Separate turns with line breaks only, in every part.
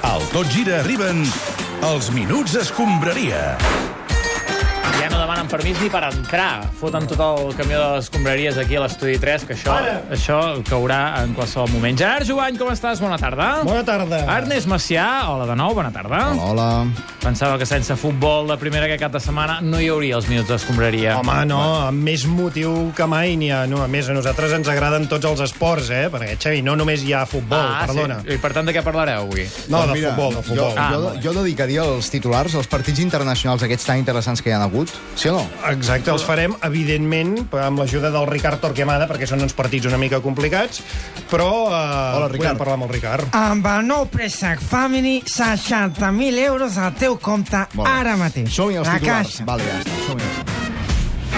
Al Tot Gira arriben els Minuts Escombraria.
Ja no demanen permís ni per entrar. Foten tot el camió de les escombraries aquí a l'estudi 3, que això, això caurà en qualsevol moment. Gerard Jovany, com estàs? Bona tarda.
Bona tarda.
Ernest Macià, hola de nou, bona tarda. Hola.
Hola.
Pensava que sense futbol de primera que cap de setmana no hi hauria els minuts d'escombraria.
Home, no, amb més motiu que mai n'hi ha. No, a més, a nosaltres ens agraden tots els esports, eh? Perquè, Xavi, no només hi ha futbol,
ah,
perdona.
Sí. I per tant, de què parlareu avui?
No,
Doncs
de
mira,
futbol, de futbol.
Jo,
Ah,
jo,
molt
jo dedicaria els titulars als partits internacionals aquests tan interessants que hi han hagut, sí o no?
Exacte, els farem, evidentment, amb l'ajuda del Ricard Torquemada, perquè són uns partits una mica complicats, però eh, Hola,
Ricard.
podem parlar amb el Ricard.
Amb el nou préssec Family, 60.000 euros al teu compte
Molt bé.
ara mateix.
Som-hi els
La
titulars.
Caixa.
Vale, ja està. Som-hi.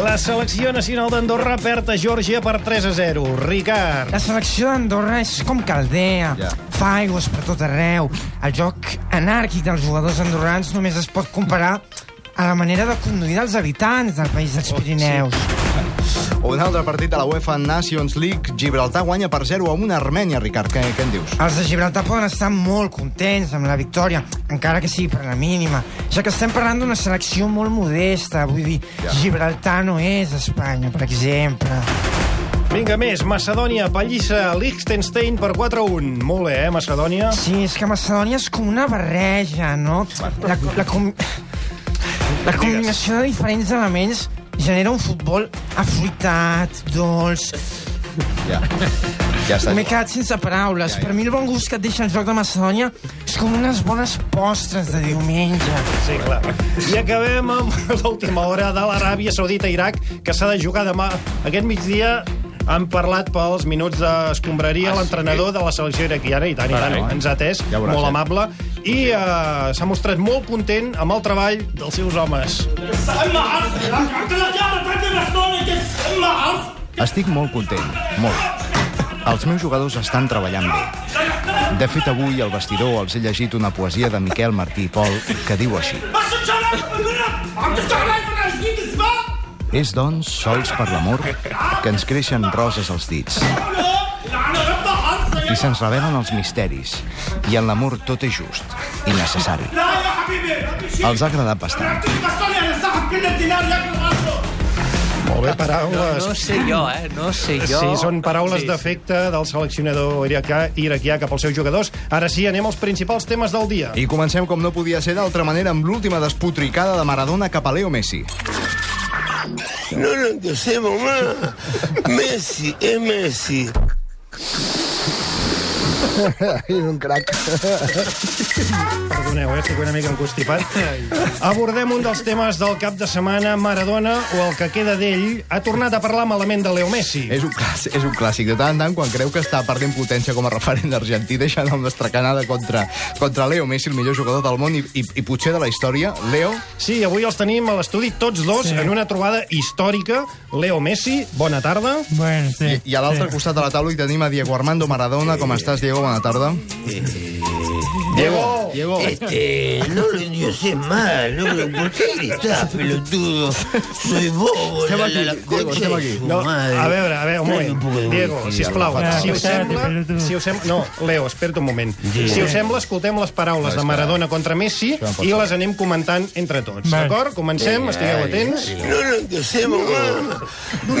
La selecció nacional d'Andorra perd a Georgia per 3 a 0. Ricard.
La selecció d'Andorra és com caldea.
Ja.
Fa aigües per tot arreu. El joc anàrquic dels jugadors andorrans només es pot comparar a la manera de conduir dels habitants del país
Oh,
dels Pirineus.
Un altre partit de la UEFA Nations League. Gibraltar guanya per 0 a 1 a Armènia, Ricard. Què, què en dius?
Els de Gibraltar poden estar molt contents amb la victòria, encara que sigui per la mínima, ja que estem parlant d'una selecció molt modesta. Vull dir,
Ja.
Gibraltar no és Espanya, per exemple.
Vinga, més. Macedònia, pallissa, Liechtenstein per 4 a 1. Molt bé, eh, Macedònia?
Sí, és que Macedònia és com una barreja, no? La, la, com... la combinació de diferents elements genera un futbol afruitat, dolç...
Ja. Ja està.
M'he quedat sense paraules. Per mi el bon gust que et deixa el joc de Macedònia és com unes bones postres de diumenge.
Sí, clar. I acabem amb l'última hora de l'Aràbia Saudita-Iraq, que s'ha de jugar demà. Aquest migdia han parlat pels minuts
Ah,
d'escombraria ah,
sí?
l'entrenador de la selecció iraquiana, i tant, i tant,
Carai.
ens ha atès,
Ja ho veuràs,
molt
eh?
amable, i eh, s'ha mostrat molt content amb el treball dels seus homes.
اما عرض عقلك يا رب عندنا شلون يجس اما عرض
Estic molt content. Molt. Els meus jugadors estan treballant bé. De fet, avui al vestidor els he llegit una poesia de Miquel Martí i Pol que diu així.
بس ان شاء الله عم تفتح علي فرع جديد الزبال
És, doncs, sols per l'amor que ens creixen roses als dits.
لعنة ربها عرض
i se'ns revelen els misteris. I en l'amor tot és just i necessari.
لا يا حبيبي ربي شيل
Els ha agradat
انا
bastant.
اعطيك بسطوني انا سحب كل الدينار ياكل عرضه
Molt bé, paraules...
No sé jo, eh? No sé
Sí,
jo.
són paraules
Sí, sí.
d'efecte del seleccionador iraquià, iraquià cap als seus jugadors. Ara sí, anem als principals temes del dia.
I comencem com no podia ser d'altra manera amb l'última despotricada de Maradona cap a Leo Messi.
No lo que sé, mamá. Messi es Messi.
Perdoneu, eh?
este,
estic una mica encostipat. Abordem un dels temes del cap de setmana. Maradona, o el que queda d'ell, ha tornat a parlar malament de Leo Messi.
És un, clàssic, és un clàssic. De tant en tant, quan creu que està perdent potència com a referent argentí, deixant el destracanada contra, contra Leo Messi, el millor jugador del món i, i, i potser de la història. Leo,
Sí, avui els tenim a l'estudi tots dos sí. en una trobada històrica. Leo Messi, bona tarda.
Bueno, sí.
i a l'altre costat de la taula hi tenim a Diego Armando Maradona. Com estàs, Diego? Bona tarda. Diego, Diego.
Oh, Este, no lo endiosé mal, no lo ¿Por qué gritás, pelotudo? Soy bobo, la, la, la
Diego,
concha
estamos
de su
No,
madre.
a veure, a veure, un
Trae poco de
moment. Diego,
whisky,
sisplau,
Diego,
si us
Espérate,
sembla...
pelotudo.
Si us sem... No, Leo, espera't un moment. Si us sembla, escoltem les paraules de Maradona contra Messi
no pot
i
ser.
les anem comentant entre tots. D'acord? Comencem, estigueu atents.
No lo endiosé, mamá.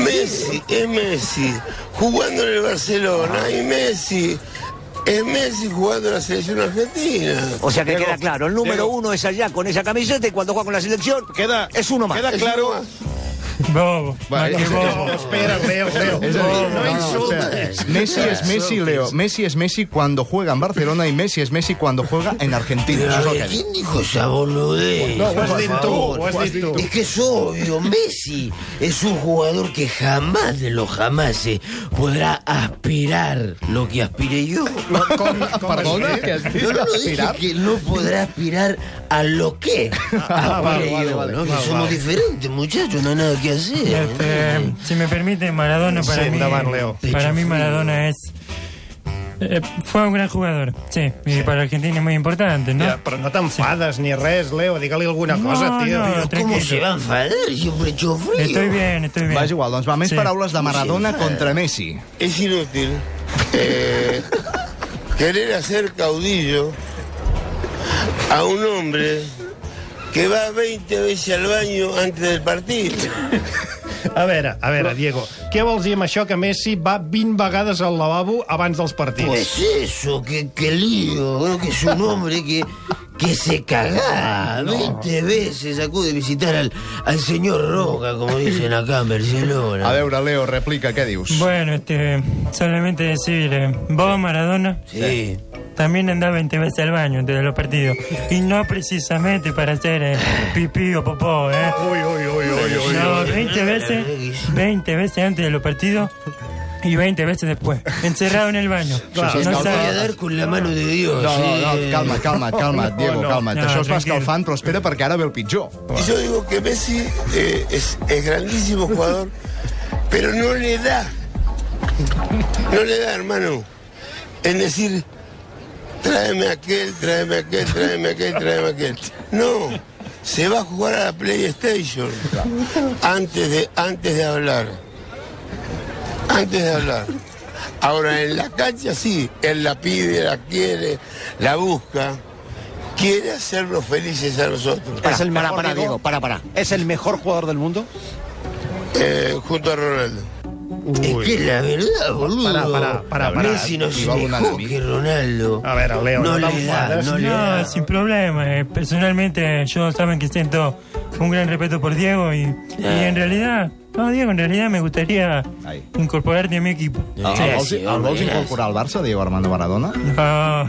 Messi es Messi. Jugando en el Barcelona. Y Messi es Messi jugando en la selección argentina.
O sea que queda claro, el número uno es allá con esa camiseta y cuando juega con la selección es uno más.
claro.
Bobo.
Va, és- és-
No, espera, Leo, Leo.
És a dir,
No, no insultes.
Messi es Messi, Leo. Messi es Messi cuando juega en Barcelona y Messi es Messi cuando juega en Argentina. Eso
Pero,
es lo
a
que
ver,
dice.
¿Quién dijo esa boludez?
No, ho has
Por
dit tu,
favor.
ho has dit tu.
Es que es obvio, Messi es un jugador que jamás de los jamases podrá aspirar lo que aspiré yo. No,
Perdona? Que has dit
no, no, dije
aspirar?
que no podrá aspirar a lo que aspiré
vale,
yo,
vale, vale,
¿no? Que
vale,
somos
vale.
diferentes, muchachos, no hay nada que hacer.
Este, si me permite, Maradona para
Sí,
mí.
endavant, Leo.
Para mí Maradona es Eh, fue un gran jugador, sí. Y para Argentina es muy importante, ¿no?
Ja, però no t'enfades ni res, Leo. Digue-li alguna
No,
cosa, tio.
no,
¿Cómo
tranquilo.
se va a enfadar si un pecho frío?
Estoy bien, estoy bien.
Va, és igual, doncs va, més
Sí.
paraules de Maradona contra Messi.
Es inútil eh, querer hacer caudillo a un hombre que va 20 veces al baño antes del partido.
A veure, a veure, Diego, què vols dir amb això que Messi va 20 vegades al lavabo abans dels partits?
Pues eso, qué, qué lío. Creo que es un hombre que, que se cagá. 20 veces acude de visitar al, al señor Roca, como dicen acá en Barcelona.
A veure, Leo, replica, què dius?
Bueno, este, solamente decir, eh, vos, Maradona,
Sí.
también andás 20 veces al baño antes de los partidos. Y no precisamente para hacer eh, pipí o popó, ¿eh?
Ui, ui, ui, ui, ui.
No, 20 veces, 20 veces antes de los partidos y 20 veces después. Encerrado en el baño.
Claro,
no
no,
Voy a
sabe-
dar con la mano de Dios.
No, no,
eh.
no, calma't, calma't, calma't, Diego,
no.
calma't.
No,
Això es va
tranquil.
escalfant, però espera perquè ara ve el pitjor.
Y Yo digo que Messi eh, es, es grandísimo jugador, pero no le da, no le da, hermano, en decir, tráeme aquel, tráeme aquel, tráeme aquel, tráeme aquel. No, se va a jugar a la PlayStation antes de, antes de hablar. Antes de hablar. Ahora en la cancha sí, él la pide, la quiere, la busca, quiere hacernos felices a nosotros.
Es el para, para, Diego, para, para. ¿Es el mejor jugador del mundo?
Eh, junto a Ronaldo. Es que la verdad, boludo.
Pará, pará, pará, pará.
Messi no
Y
es
va un
mejor
enemigo.
que Ronaldo.
A ver, Leo,
no,
no
le da,
t'enfades.
no le
No,
da.
sin problema. Eh, Personalmente, yo saben que siento un gran respeto por Diego y, y
Eh.
en realidad, no, Diego, en realidad me gustaría
Ahí.
incorporarte a mi equipo.
Sí,
El Ah, vols,
sí,
el
home,
vols
ja.
incorporar al Barça, Diego Armando Maradona?
Ah,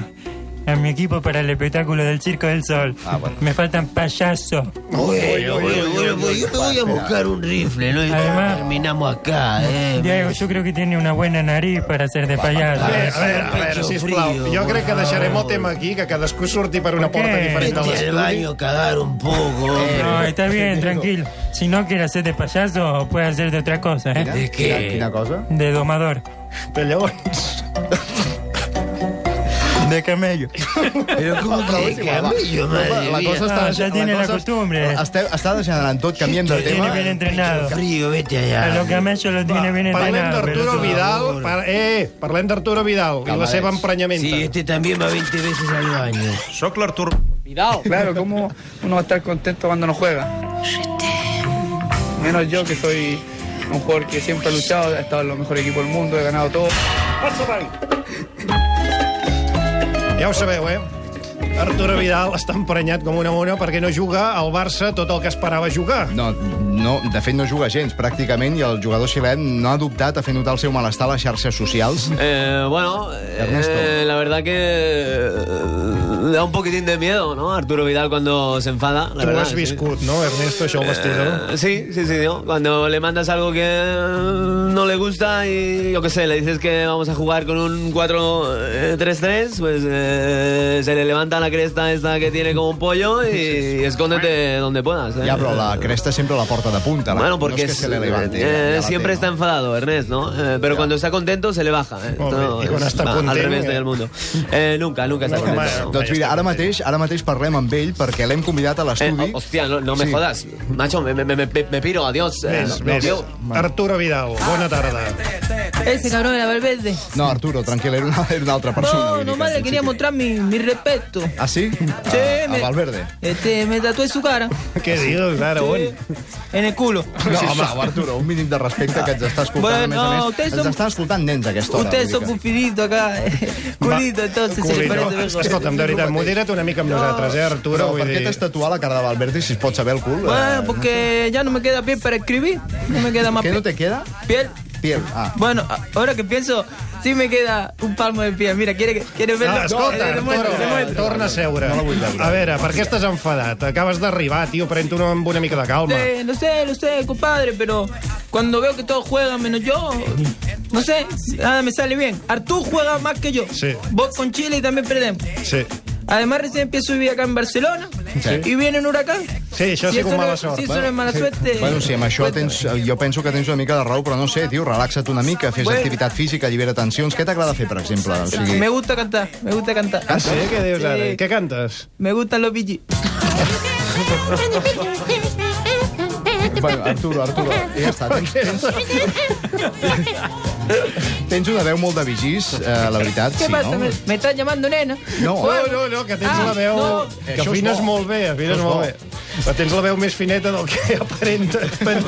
a mi equipo para el espectáculo del Circo del Sol.
Ah, bueno.
Me faltan payasos.
Bueno, bueno, bueno, pues yo me voy a buscar un rifle, ¿no? Y
Además-
terminamos acá, ¿eh?
Diego, yo creo que tiene una buena nariz para ser de payaso.
A veure, a veure, a veure, sisplau. Jo crec que deixarem el tema aquí, que cadascú surti per una
Per què?
porta diferent de
Vete al
l'estudi.
baño a cagar un poco, hombre.
Eh, No, está bien, tranquilo. Si no quiere hacer de payaso, puede hacer de otra cosa, ¿eh?
¿De
Quina,
qué?
quina cosa?
De domador.
Però llavors...
De camello.
Pero ¿cómo que de camello, madre
La
mía?
cosa està...
Ah, ja tiene la
cosa-
costumbre.
Este, està degenerant tot, canviem de
Lo
tema.
tiene bien entrenado.
Frío, vete
A
allá.
los camellos lo tiene bien
Parlem
entrenado.
d'Arturo
pelotudo.
Vidal. Par eh, parlem d'Arturo Vidal i la
Camarés.
seva
Sí,
emprenyamenta.
este también va 20 veces al baño.
Soc l'Artur...
Vidal.
Claro, ¿cómo uno va a estar contento cuando no juega? Menos yo que soy un jugador que siempre ha luchado, he estado en los mejores equipos del mundo, he ganado todo.
Ja ho sabeu, eh? Arturo Vidal està emprenyat com una mona perquè no juga al Barça tot el que esperava jugar.
No, no, de fet no juga gens, pràcticament, i el jugador xilè no ha dubtat a fer notar el seu malestar a les xarxes socials.
Eh, bueno,
Ernesto.
eh, la verdad que eh, da un poquitín de miedo, ¿no? Arturo Vidal cuando se enfada. La
Tu ho
verdad,
has
sí.
viscut, no, Ernesto, això al vestidor?
Eh, sí, sí, sí, ¿no? Cuando le mandas algo que eh, no le gusta y yo qué sé, le dices que vamos a jugar con un 4-3-3, pues eh, se le levanta la cresta esta que tiene como un pollo y escóndete donde puedas. ¿eh?
Ja, però la cresta sempre la porta de punta. La,
Bueno, porque
no és que se
es-
le levante.
eh,
ja la
siempre
té,
está
no?
enfadado, Ernest, ¿no? Eh, pero cuando está contento se le baja. ¿eh?
Hombre,
Todo
y cuando
es-
está
va,
contento,
al revés
eh.
del mundo. Eh, nunca, nunca está
No,
contento.
bueno.
¿no?
Doncs mira, ara mateix, ara mateix parlem amb ell perquè l'hem convidat a
Eh,
l'estudi.
oh, hostia, no, no me
Sí.
jodas. Macho, me, me, me, me- me piro, adiós. Eh,
Més,
no,
més.
tío.
Arturo Vidal, bona tarda.
Ese cabrón era Valverde.
No, Arturo, tranquil, era una, era una altra persona. vull
No,
dir que
nomás
al
le quería
principi-
mostrar mi, mi respeto.
Ah, sí?
Sí,
a, a
me-
Valverde.
Este, me tatué su cara
Què dius, ara, on?
en el culo.
No, home, Arturo, un mínim de respecte que ens està escoltant,
Bueno,
a més a més.
ustedes
Ens
son-
està escoltant nens, a aquesta hora. vull
Ustedes son
dir que-
cupidito acá. Culito, entonces, se les
Culito.
parece mejor.
Escolta'm, de veritat, modera't una mica amb nosaltres, eh, Arturo?
Però per
Vull
què
dir...
t'has tatuat la cara de Valverde si es pot saber el cul?
Bueno,
Eh,
porque ya no me queda piel para escribir. No me queda más
Què no te
piel.
queda?
piel.
Piel. Ah.
Bueno, a- ahora que pienso, sí me queda un palmo de piel. Mira, quiere, quiere verlo.
Ah, escolta,
Eh, le muestro, le
Arturo,
muestro.
torna a seure.
No la vull veure.
A veure, per què estàs enfadat? Acabes d'arribar, tio, pren-t'ho amb una mica de calma.
Eh, no sé, no sé, compadre, pero cuando veo que todos juegan menos yo, no sé, nada me sale bien. Artú juega más que yo.
Sí.
Vos con Chile y también perdemos.
Sí.
Además, recién empiezo a vivir acá en Barcelona
Sí.
y viene un huracán.
Sí, això
Si
sí que
eso
ho mala
no-
sort.
Si eso no es mala suerte.
Bueno, sí, amb això tens, jo penso que tens una mica de raó, però no sé, tio, relaxa't una mica, fes
Bueno.
activitat física, allibera tensions. Què t'agrada fer, per exemple? O sigui...
Me gusta cantar, me gusta cantar.
Ah, sí? Què dius ara?
¿eh?
Què
cantes?
Me gustan los BG.
Bueno,
ah.
Arturo, Arturo, ja està. Tens, tens, tens una veu molt de vigís, eh, la veritat.
¿Qué
sí,
pasa?
no?
¿Me, me estás llamando nena?
No.
Bueno.
No, no, no, que tens
Ah,
la veu...
no.
Que
Eh, Això és
afines
bo.
molt bé, afines
Això és bo.
molt bé. Però tens la veu més fineta del que aparenta.
bueno.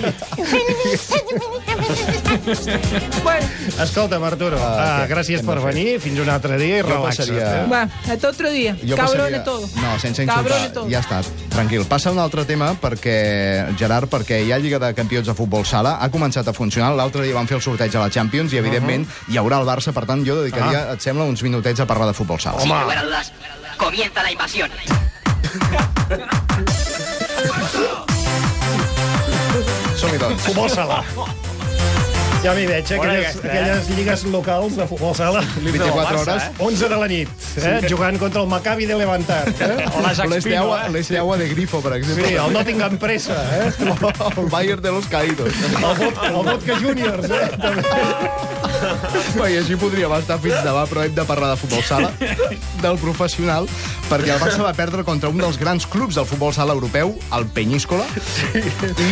Escolta'm, Arturo, ah,
què-
gràcies
què hem
per
de fer?
venir. Fins un altre dia i
Jo
relaxa't.
passaria-
Eh?
Va, hasta otro día. Cabrones todos.
No, sense
Cabrones
insultar.
todos.
Ja està, tranquil. Passa un altre tema, perquè, Gerard, perquè hi ha Lliga de Campions de Futbol Sala, ha començat a funcionar, l'altre dia van fer el sorteig a la Champions i, evidentment,
Uh-huh.
hi haurà el Barça, per tant, jo
Ah.
dedicaria, et sembla, uns minutets a parlar de Futbol Sala.
Sin lugar a dudas, comienza la invasión.
Som-hi, doncs.
Futbol Sala. Ja m'hi veig, eh?
Bona
aquelles,
aquesta, eh?
aquelles lligues locals de futbol sala.
24 hores.
11 de la nit, eh?
Sí.
jugant contra el Maccabi de Levantar. Eh?
L'Esteaua l'Esteaua de Grifo, per exemple.
Sí, el Nottingham Pressa, eh?
El Bayern de los Caídos.
El, Bot, el Vodka Juniors, eh?
Bé, I així podríem estar fins demà, però hem de parlar de futbol sala, del professional, perquè el Barça va perdre contra un dels grans clubs del futbol sala europeu, el Peñíscola. Sí. I...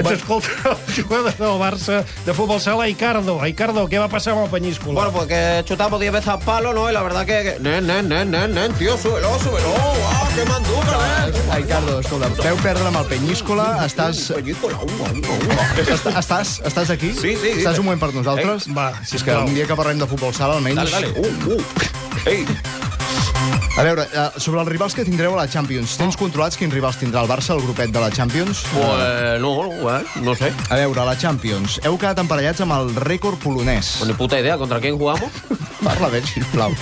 Ens escolta el jugador del Barça de futbol sala, Icardo. Icardo, què va passar amb el Peñíscola?
Bueno, pues que chutamos 10 veces al palo, ¿no? Y la verdad
Eh,
que... que- Nen, nen, nen, nen, nen, tío, súbelo, súbelo. ¡Wow, qué manduca, nen!
Ai, Cardo, escolta, veu perdre amb el Peñíscola, estàs... Estàs, estàs, estàs aquí?
Sí, sí, sí.
Estàs un moment per nosaltres?
Eh? Va,
si és que
sisplau.
un dia que parlem de futbol sala, almenys...
Dale, dale. Uh, uh. Ei,
A veure, eh, sobre els rivals que tindreu a la Champions, tens controlats quins rivals tindrà el Barça, el grupet de la Champions?
pues no, eh, no sé.
A veure, a la Champions, heu quedat emparellats amb el rècord polonès.
Pues
Ni puta idea, ¿contra quién jugamos?
Parla bé, sisplau.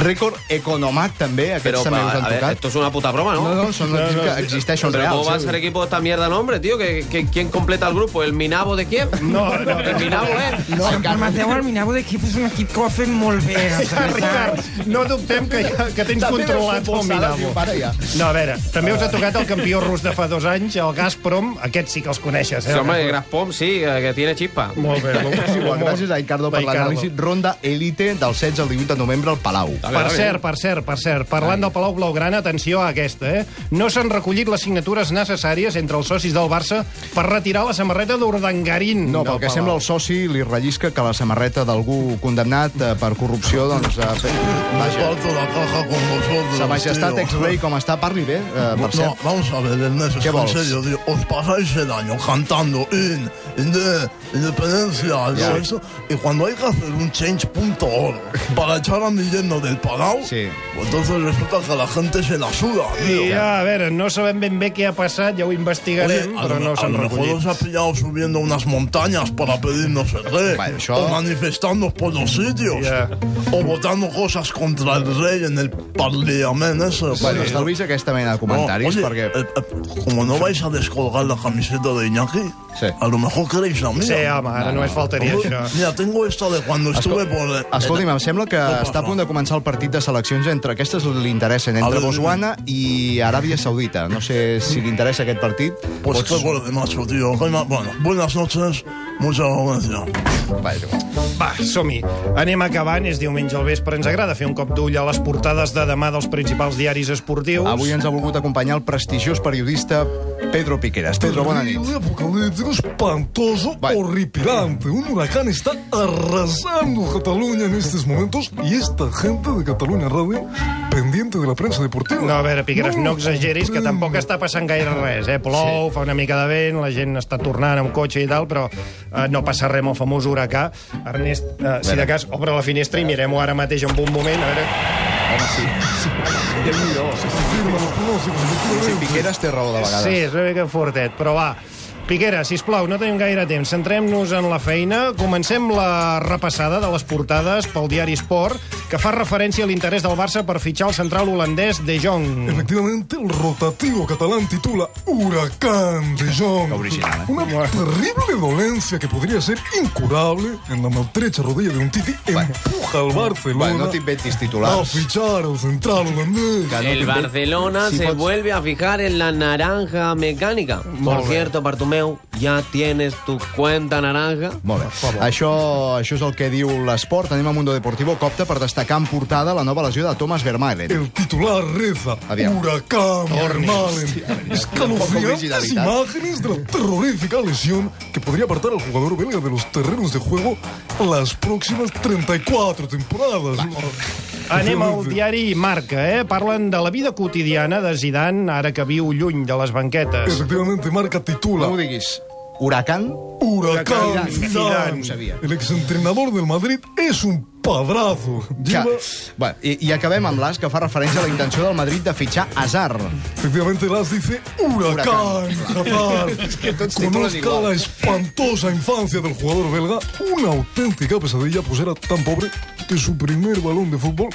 Rècord economat, també, aquests
Pero,
també us
pa-
han
a ver,
tocat.
esto es una puta broma, ¿no?
No, no, son- No, no, que existeixen
Pero
reals,
¿Cómo va a
eh?
ser equipo esta mierda nombre, tío? ¿Que, que, quién completa el grupo? ¿El Minabo de quién?
No, no.
El Minabo, ¿eh?
No, el Mateu Alminabo d'equip és un equip que ho ha fet molt bé. la veritat.
Ricard, no dubtem que, que tens
També
controlat
veus
el
futbol sala,
Minamo.
diu, para ja.
No, a veure, també us ha tocat el campió rus de fa dos anys, el Gazprom. Aquests sí que els coneixes,
Sí,
eh?
hombre, Graspom, sí, eh, que tiene chispa.
Molt bé, molt
Sí, bueno, gràcies a Ricardo per
Va, Ricardo.
l'anàlisi. Ronda Elite del 16 al 18 de novembre al Palau.
Per cert, per cert, per cert, parlant del Palau Blaugrana, atenció a aquesta, eh? No s'han recollit les signatures necessàries entre els socis del Barça per retirar la samarreta d'Urdangarín.
No, pel que sembla el soci li rellisca que la samarreta d'algú condemnat eh, per corrupció, doncs... Eh, fe- vaja.
la caja con vosotros.
Sa majestat ex-rei com està, parli bé, eh, per
No,
cert.
vamos a ver, Ernest,
¿Qué
es en
vols?
serio, tío. Os pasáis el año cantando in, in de, independencia, y todo
Ya.
eso, y cuando hay que hacer un change.org para echar a mi lleno del palau, pues entonces resulta que la gente se la suda, tío.
I, a veure, no sabem ben bé què ha passat, ja ho
Oye,
investigarem,
a,
però
lo,
no
a
s'han
lo mejor
recollit.
os ha pillado subiendo unas montañas para pedir no sé qué. O manifestando por los sitios. O votando cosas contra el rey en el parlamento. Eso,
Bueno, estalvis aquesta mena de comentaris,
No, eh,
perquè...
Como no vais a descolgar la camiseta de Iñaki, a lo mejor queréis la mía.
Sí, home, ara només faltaria
Hombre,
això.
Mira, tengo esta de cuando estuve por... eh,
Escolti'm, em sembla que està a punt de començar el partit de seleccions entre aquestes li interessen,
A
entre
veure,
Botswana i Aràbia Saudita. No sé si li interessa aquest partit.
Pues
Pots-
qué gol de macho, tío. Qué ma- Bueno, buenas noches, muchas gracias.
Va, som-hi. Anem acabant, és diumenge al vespre. Ens agrada fer un cop d'ull a les portades de demà dels principals diaris esportius.
Avui ens ha volgut acompanyar el prestigiós periodista Pedro Piqueras. Pedro, bona nit.
Terrible apocalíptico, espantoso, horripilante. Un huracán está arrasando Cataluña en estos momentos y esta gente de Cataluña Radio pendiente de la prensa deportiva.
No, a veure, Piqueres, no exageris, que tampoc està passant gaire res, eh? Plou, fa una mica de vent, la gent està tornant amb cotxe i tal, però eh, no passa res amb el famós huracà. Ernest, eh, si de cas, obre la finestra i mirem-ho ara mateix en un moment, a veure...
Ah,
Home, sí.
Sí, Piqueras té raó de vegades.
Sí, és una mica fortet, però va. Piquera, si plau, no tenim gaire temps. Centrem-nos en la feina. Comencem la repassada de les portades pel diari Sport, que fa referència a l'interès del Barça per fitxar el central holandès De Jong.
Efectivamente, el rotativo catalán titula Huracán de Jong.
eh.
Una terrible dolencia que podría ser incurable en la maltrecha rodilla de un titi empuja al Barcelona.
Bueno, no t'inventis
a
titulars.
fichar al central holandés.
El Barcelona
pues-
se vuelve a fijar en la naranja mecánica. Por
bé.
cierto, Bartomeu, ya tienes tu cuenta naranja.
Molt bé. Això, això és el que diu l'esport. Anem a Mundo Deportivo. Copta per destacar en portada la nova lesió de Thomas Vermaelen.
El titular reza
Aviam.
Huracán
Torni,
Vermaelen.
hòstia, de veritat. Poca
Escalofriantes
originalitat.
imágenes de la terrorífica lesión que podría apartar al jugador belga de los terrenos de juego las próximas 34 temporadas.
Anem al diari Marca, eh? Parlen de la vida quotidiana de Zidane, ara que viu lluny de les banquetes.
Efectivamente, marca titula. No
diguis. Huracán.
Huracán
Huracán Zidane,
Zidane.
ho sabia.
El exentrenador del Madrid es un padrazo.
Que,
Lleva...
bueno, i, I acabem amb l'AS, que fa referència a la intenció del Madrid de fitxar Hazard.
Efectivamente, Las dice Huracán, Hazard.
Es que tots titulen
Conozca
igual.
la espantosa infancia del jugador belga, una auténtica pesadilla, pues era tan pobre que su primer balón de fútbol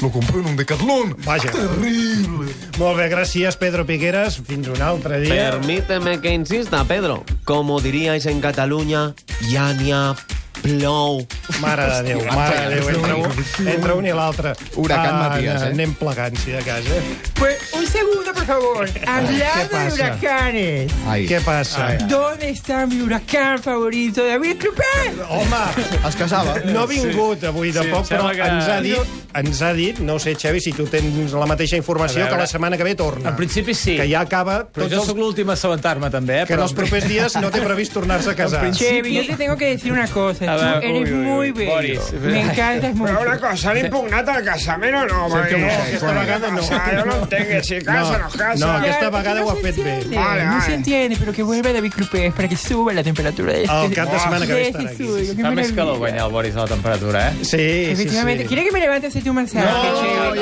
lo compró en un decatlón.
Vaja.
Terrible.
Molt bé, gràcies, Pedro Piqueras. Fins un altre dia.
Permíteme que insista, Pedro. Como diríais en Cataluña, ya ni a plou.
Mare de Déu, mare de Déu, eh, entre un, entre un i l'altre. Ah,
Huracán Matías, eh?
Anem plegant, si de cas, eh?
Pues un segundo, por favor.
¿Qué
Hablando de
pasa?
huracanes.
Ai.
Què passa?
¿Dónde está mi huracán favorito, David Crupé?
Home,
Es casava.
No ha vingut avui de
Sí,
poc, però
sembla que-
ens ha dit, ens ha dit, no ho sé, Xavi, si tu tens la mateixa
A
informació,
veure.
que la setmana que ve torna.
En principi sí.
Que ja acaba
Però Doncs
tots
jo
els-
sóc l'últim a assabentar-me, també. Eh?
Que en els propers dies no té previst tornar-se a casar.
Chevy, yo te tengo que decir una cosa.
A ver,
Tú eres
uy, uy, uy,
muy bello.
Boris.
Me encantas mucho.
Pero una cosa, ¿han impugnado el casamiento o no?
Sento
Porque
molt bé,
esta
Juan.
vegada no. O sea, yo no entenc, si casa, no, casa.
Claro, no se entiende,
Vale,
No se
vale.
entiende, pero que vuelva David Crupé para que suba la temperatura de este.
Ah,
Al cap de setmana que ve
Sí,
estarà
sí,
aquí.
suyo, qué
Fa més
maravilla.
calor guanyar el Boris a la temperatura, eh?
Sí,
Efectivamente. ¿Quiere que me levante a hacerte un masaje? Chevy?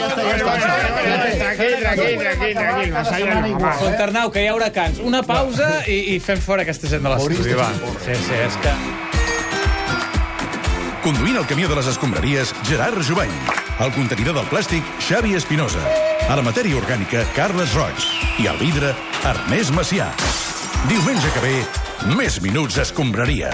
Tranquil, tranquil, tranquil, tranquil. Vasallo, no, va.
Fontarnau, que hi ha huracans. Una pausa i, i fem fora aquesta gent de l'estudi, va. Sí, sí, és que...
Conduint el camió de les escombraries, Gerard Jubany. El contenidor del plàstic, Xavi Espinosa. A la matèria orgànica, Carles Roig. I al vidre, Ernest Macià. Diumenge que ve, més minuts escombraria.